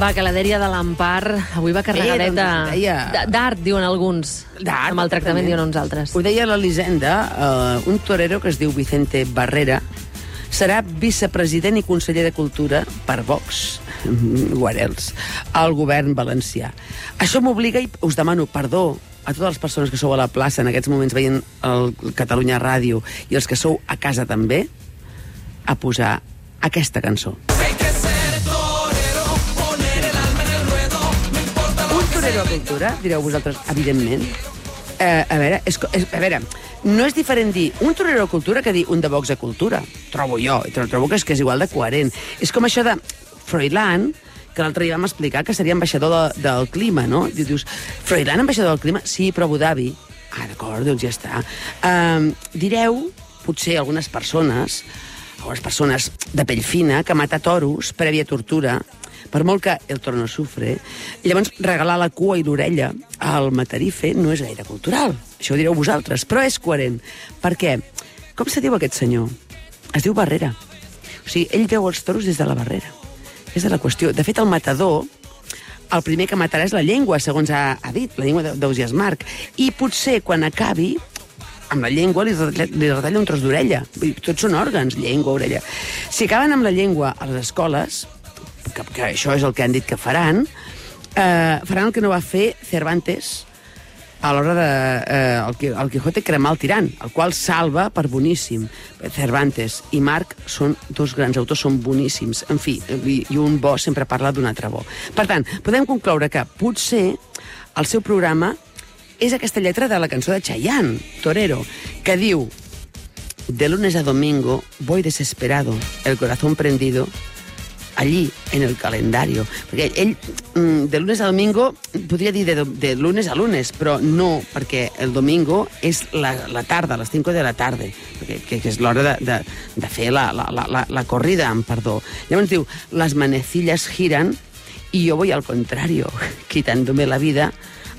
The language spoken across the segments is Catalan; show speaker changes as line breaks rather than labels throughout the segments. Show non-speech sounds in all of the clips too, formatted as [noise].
Va, que la dèria de l'Empar avui va carregadeta
doncs, deia-
d- d'art, diuen alguns.
D'art,
Amb el tractament,
exactament.
diuen uns altres.
Ho deia l'Elisenda, eh, un torero que es diu Vicente Barrera, serà vicepresident i conseller de Cultura per Vox, mm, Guarels, al govern valencià. Això m'obliga i us demano perdó a totes les persones que sou a la plaça en aquests moments veient el Catalunya Ràdio i els que sou a casa també, a posar aquesta cançó. Un torero a cultura, direu vosaltres, evidentment. Eh, a veure, és, co- és, a veure, no és diferent dir un torero a cultura que dir un de Vox a cultura. Trobo jo, i tro- trobo que és, que és igual de coherent. És com això de Froilán, que l'altre dia vam explicar que seria ambaixador de, del clima, no? I dius, Froilán, ambaixador del clima? Sí, però Abu Dhabi. Ah, d'acord, doncs ja està. Eh, direu, potser algunes persones, algunes persones de pell fina, que matar toros prèvia tortura, per molt que el toro no sufre, i llavors regalar la cua i l'orella al matarife no és gaire cultural. Això ho direu vosaltres, però és coherent. Per què? Com se diu aquest senyor? Es diu Barrera. O sigui, ell veu els toros des de la barrera. És de la qüestió. De fet, el matador, el primer que matarà és la llengua, segons ha, ha dit, la llengua d'Eu- d'Eusias Marc. I potser, quan acabi, amb la llengua li retalla, li retalla un tros d'orella. Vull dir, Tots són òrgans, llengua, orella. Si acaben amb la llengua a les escoles, que, que això és el que han dit que faran, eh, faran el que no va fer Cervantes a l'hora de... Eh, el, Qui- el Quijote cremar el tirant, el qual salva per boníssim. Cervantes i Marc són dos grans autors, són boníssims. En fi, i, i un bo sempre parla d'un altre bo. Per tant, podem concloure que potser el seu programa és aquesta lletra de la cançó de Chayanne, Torero, que diu De lunes a domingo voy desesperado, el corazón prendido, allí, en el calendario. Perquè ell, mm, de lunes a domingo, podria dir de, do- de lunes a lunes, però no, perquè el domingo és la, la tarda, a les 5 de la tarda, perquè, que, que és l'hora de, de, de fer la, la, la, la, la corrida, amb perdó. Llavors diu, les manecillas giran i jo voy al contrario, [laughs] quitándome la vida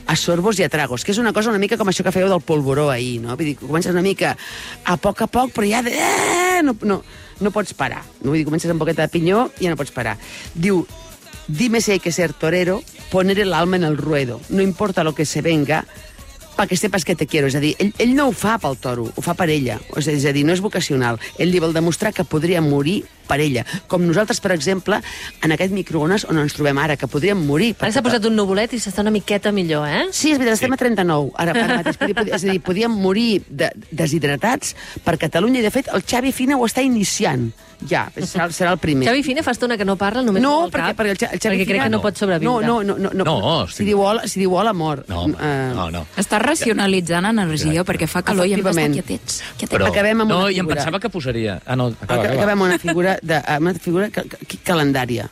a sorbos i a tragos, que és una cosa una mica com això que fèieu del polvoró ahir, no? Vull dir, comences una mica a poc a poc, però ja... De... eh, No, no, no pots parar. No? Vull dir, comences amb boqueta de pinyó i ja no pots parar. Diu, dime si hay que ser torero, poner el alma en el ruedo. No importa lo que se venga, pa que sepas que te quiero. És a dir, ell, ell no ho fa pel toro, ho fa per ella. O sigui, és a dir, no és vocacional. Ell li vol demostrar que podria morir per ella. Com nosaltres, per exemple, en aquest microones on ens trobem ara, que podríem morir.
Ara s'ha posat un nuvolet i s'està una miqueta millor, eh?
Sí, és veritat, estem a 39, ara, ara mateix. Podria- podria- És a dir, podíem morir de, deshidratats per Catalunya, i de fet el Xavi Fina ho està iniciant, ja, serà, serà el primer.
Xavi Fina fa estona que no parla, només
No,
amb el
perquè,
cap,
perquè el Xa- el Xavi
perquè crec
Fina...
que no, pot sobreviure.
No, no, no. no,
No,
si,
sí.
diu hola, si diu hola, mor.
No, home,
Eh,
no, no.
Estàs racionalitzant energia perquè fa calor i hem d'estar
Efectivament.
quietets. quietets.
Però,
acabem amb
no,
una
i em
figura.
pensava que posaria... Ah, no, acaba,
Acaba,
acaba.
acabem amb una figura, de, amb una figura ca, ca, calendària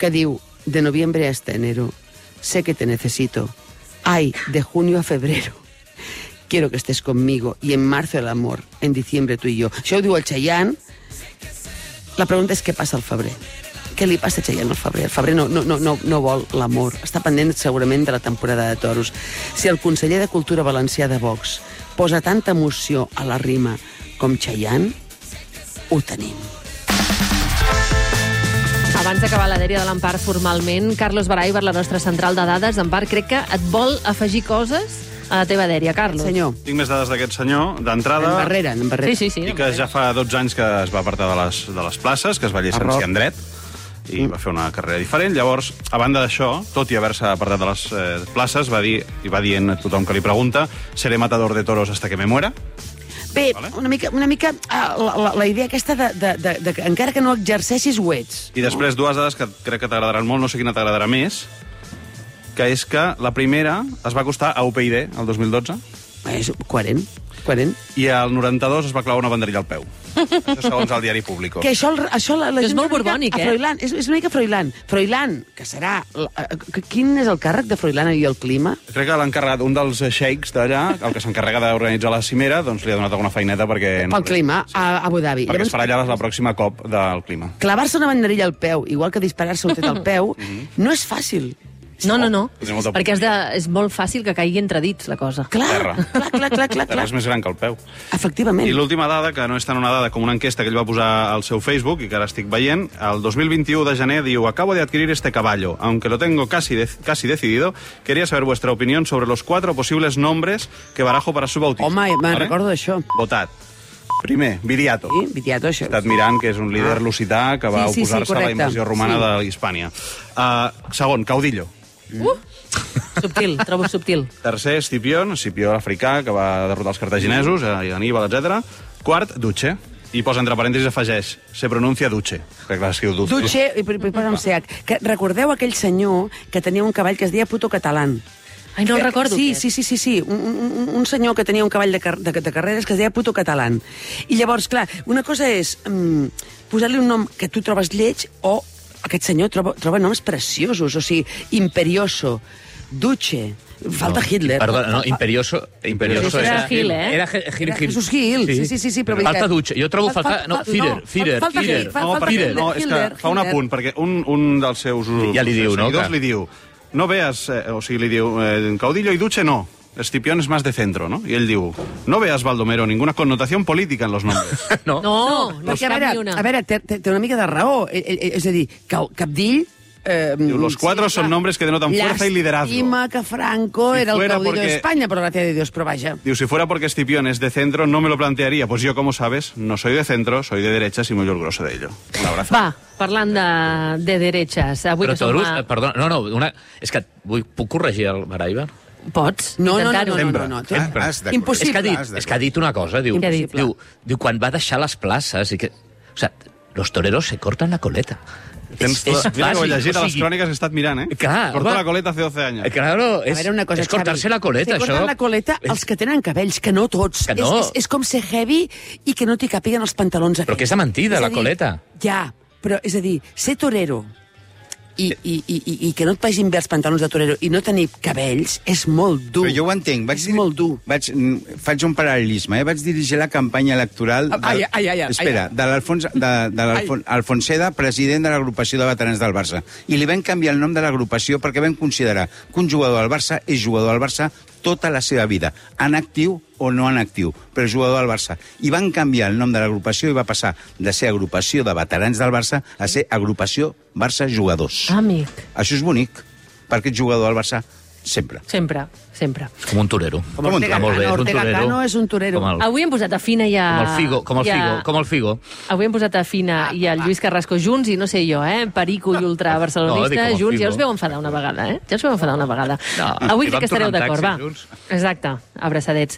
que diu de noviembre hasta enero sé que te necesito ay, de junio a febrero quiero que estés conmigo y en marzo el amor, en diciembre tú y yo això ho diu el Chayanne la pregunta és què passa al febrer què li passa a Chayanne al febrer? El febrer no, no, no, no, no vol l'amor. Està pendent segurament de la temporada de toros. Si el conseller de Cultura Valencià de Vox posa tanta emoció a la rima com Chayanne, ho tenim.
Abans d'acabar la dèria de l'Empar formalment, Carlos Baray per la nostra central de dades. Empar, crec que et vol afegir coses a la teva dèria, Carlos.
Senyor,
Tinc més dades d'aquest senyor.
en
D'entrada,
Barrera, en Barrera.
Sí, sí, sí.
i que ja fa 12 anys que es va apartar de les, de les places, que es va llicenciar en dret i va fer una carrera diferent. Llavors, a banda d'això, tot i haver-se apartat de les eh, places, va dir, i va dient a tothom que li pregunta «Seré matador de toros hasta que me muera».
Bé,
Vale.
una mica, una mica ah, la, la, la idea aquesta de, de, de, de que encara que no exerceixis, ho ets.
I després dues dades que crec que t'agradaran molt, no sé quina t'agradarà més, que és que la primera es va costar a UPyD el 2012
És coherent, coherent.
i al 92 es va clavar una banderilla al peu. Això segons el diari Público.
[laughs] Que això, el- això la, la
És
gent
molt
una mica
borbònic,
a
eh?
Froilán, és, és una mica Froilán. Froilán, que serà... la- eh, que- Quin és el càrrec de Froilán i el clima?
Crec que l'ha encarregat un dels xeics d'allà, el que s'encarrega d'organitzar la cimera, doncs li ha donat alguna feineta perquè...
Pel clima, a Abu Dhabi.
Perquè es farà allà la pròxima cop del clima. [laughs] Mhm.
clavar-se una banderilla al peu, igual que disparar-se un tret al peu, no és fàcil.
No, no, no.
Tindré molta
Perquè és, de, és molt fàcil que caigui entre dits, la cosa.
Clar,
Terra.
clar, clar, clar, clar,
Terra
clar.
és més gran que el peu.
Efectivament.
I l'última dada, que no és tant una dada com una enquesta que ell va posar al seu Facebook i que ara estic veient, el 2021 de gener diu «Acabo de adquirir este caballo, aunque lo tengo casi, de- casi decidido, quería saber vuestra opinión sobre los cuatro posibles nombres que barajo para su bautismo».
Home, me'n recordo d'això.
Votat. Primer, Viriato.
Sí, Vitiato, això.
estat mirant, que és un líder lusità que va
Ah. Sí, sí, sí,
oposar-se a la
correcte.
invasió romana
Sí.
de Hispània. Uh, segon, Caudillo.
Subtil, trobo subtil.
Tercer, Escipión, Escipió africà, que va derrotar els cartaginesos, a Aníbal, etc. Quart, Duce. I posa entre parèntesis afegeix, se pronuncia Duce. Que clar, escriu
Doncs
Duce.
Dutxe, i per- per posar un CH. Que recordeu aquell senyor que tenia un cavall que es deia Puto Catalán?
Ai, no el recordo.
Sí,
aquest.
sí, sí, sí, sí. Un, un, un senyor que tenia un cavall de, car de, de carreres que es deia Puto Catalán. I llavors, clar, una cosa és mm, posar-li un nom que tu trobes lleig o aquest senyor troba, troba noms preciosos, o sigui, imperioso, duche, falta Hitler.
Perdona, no, Imperioso. Imperioso
Era Gil, eh?
Era Ge- Gil, Gil.
Jesús Gil, sí, sí, sí, sí, però
Falta
veritat.
dutxa. Jo trobo
Fal-
falta...
fal-
No,
fal-
Firer,
no,
Firer,
falta Gil,
Firer.
fal-
No,
falta
perquè,
Hitler,
no, és que
Hitler,
fa un
Hitler.
apunt, perquè un, un dels seus
Ja li diu, no,
seguidors
clar.
li diu, no veas, eh, o sigui, li diu, eh, Caudillo i Duce no, Escipión es más de centro, ¿no? Y él diu, no veas, Baldomero, ninguna connotación política en los nombres.
No,
No?
no, no
Perquè, a
cap
veure,
ni Oh, una.
a veure té, té té una mica de raó. Eh, eh, eh, És a dir, que el Capdill... Eh,
los cuatro son
clar.
nombres que denotan fuerza y liderazgo.
Llàstima que Franco
Si
era el
fuera
caudillo
porque-
de España, por gracia de Dios, però vaja.
Diu, si fuera porque Escipión es de centro, no me lo plantearía. Pues yo, como sabes, no soy de centro, soy de derechas y muy orgulloso de ello. Un abrazo.
Va, parlant de, de derechas. Avui
Però
que som
Torus,
a...
eh, perdona, no, no, una... És que vull, puc corregir el Maraiba?
Oh,
Pots
No, no, no,
intentar-ho.
no, no, no, no.
Sempre,
Ah,
has de
Impossible.
és que ha dit,
has de-
és que ha dit una cosa, diu,
Què ha dit?
diu, diu quan va deixar les places i que, o sigui, los toreros se cortan la coleta.
Tens,
és
mira que ho he
bàsic,
llegit
o
a les
sigui,
cròniques que he estat mirant, eh?
Clar,
Cortó
home.
la coleta hace 12 años.
Eh, Claro, és,
a veure una cosa,
és cortar-se la coleta,
se
això.
corten la coleta els que tenen cabells, que no tots.
Que no.
És, és, és com ser heavy i que no t'hi capiguen els pantalons.
Però
aquells.
que és de mentida,
És a
la coleta.
Ja, però és a dir, ser torero i, i, i, i, i que no et vagin bé els pantalons de torero i no tenir cabells és molt dur.
Però jo ho entenc. Vaig
és
dir-
molt dur.
Vaig, mm, faig un paral·lelisme, eh? Vaig dirigir la campanya electoral... del-
Ah, Ai, ai, ai, ai.
Espera, de l'Alfons... De, de l'Alfon- Alfonseda, president de l'agrupació de veterans del Barça. I li van canviar el nom de l'agrupació perquè van considerar que un jugador del Barça és jugador del Barça tota la seva vida, en actiu o no en actiu, però és jugador del Barça. I van canviar el nom de l'agrupació i va passar de ser agrupació de veterans del Barça a ser agrupació Barça Jugadors.
Ah.
Amic,
Això és bonic, perquè ets jugador del Barça sempre.
sempre, sempre.
Com un torero.
Com Ortega
Ah, molt
Cano,
bé, és un
Ortega
torero.
Cano és un torero. Ah,
Com el,
Avui hem posat a Fina i a...
com el Figo, com el
i a-
Figo, com Ah, el Figo.
Avui hem posat a Fina i al Lluís Carrasco junts i no sé jo, eh? Perico i ultra
No, dic
barcelonista
com el
junts. Ja
Figo.
us veu enfadar una vegada, eh? Ja us veu enfadar una vegada.
No,
Avui
i
crec
vam
que estareu
tornar en
d'acord, va.
taxi junts.
Exacte, abraçadets.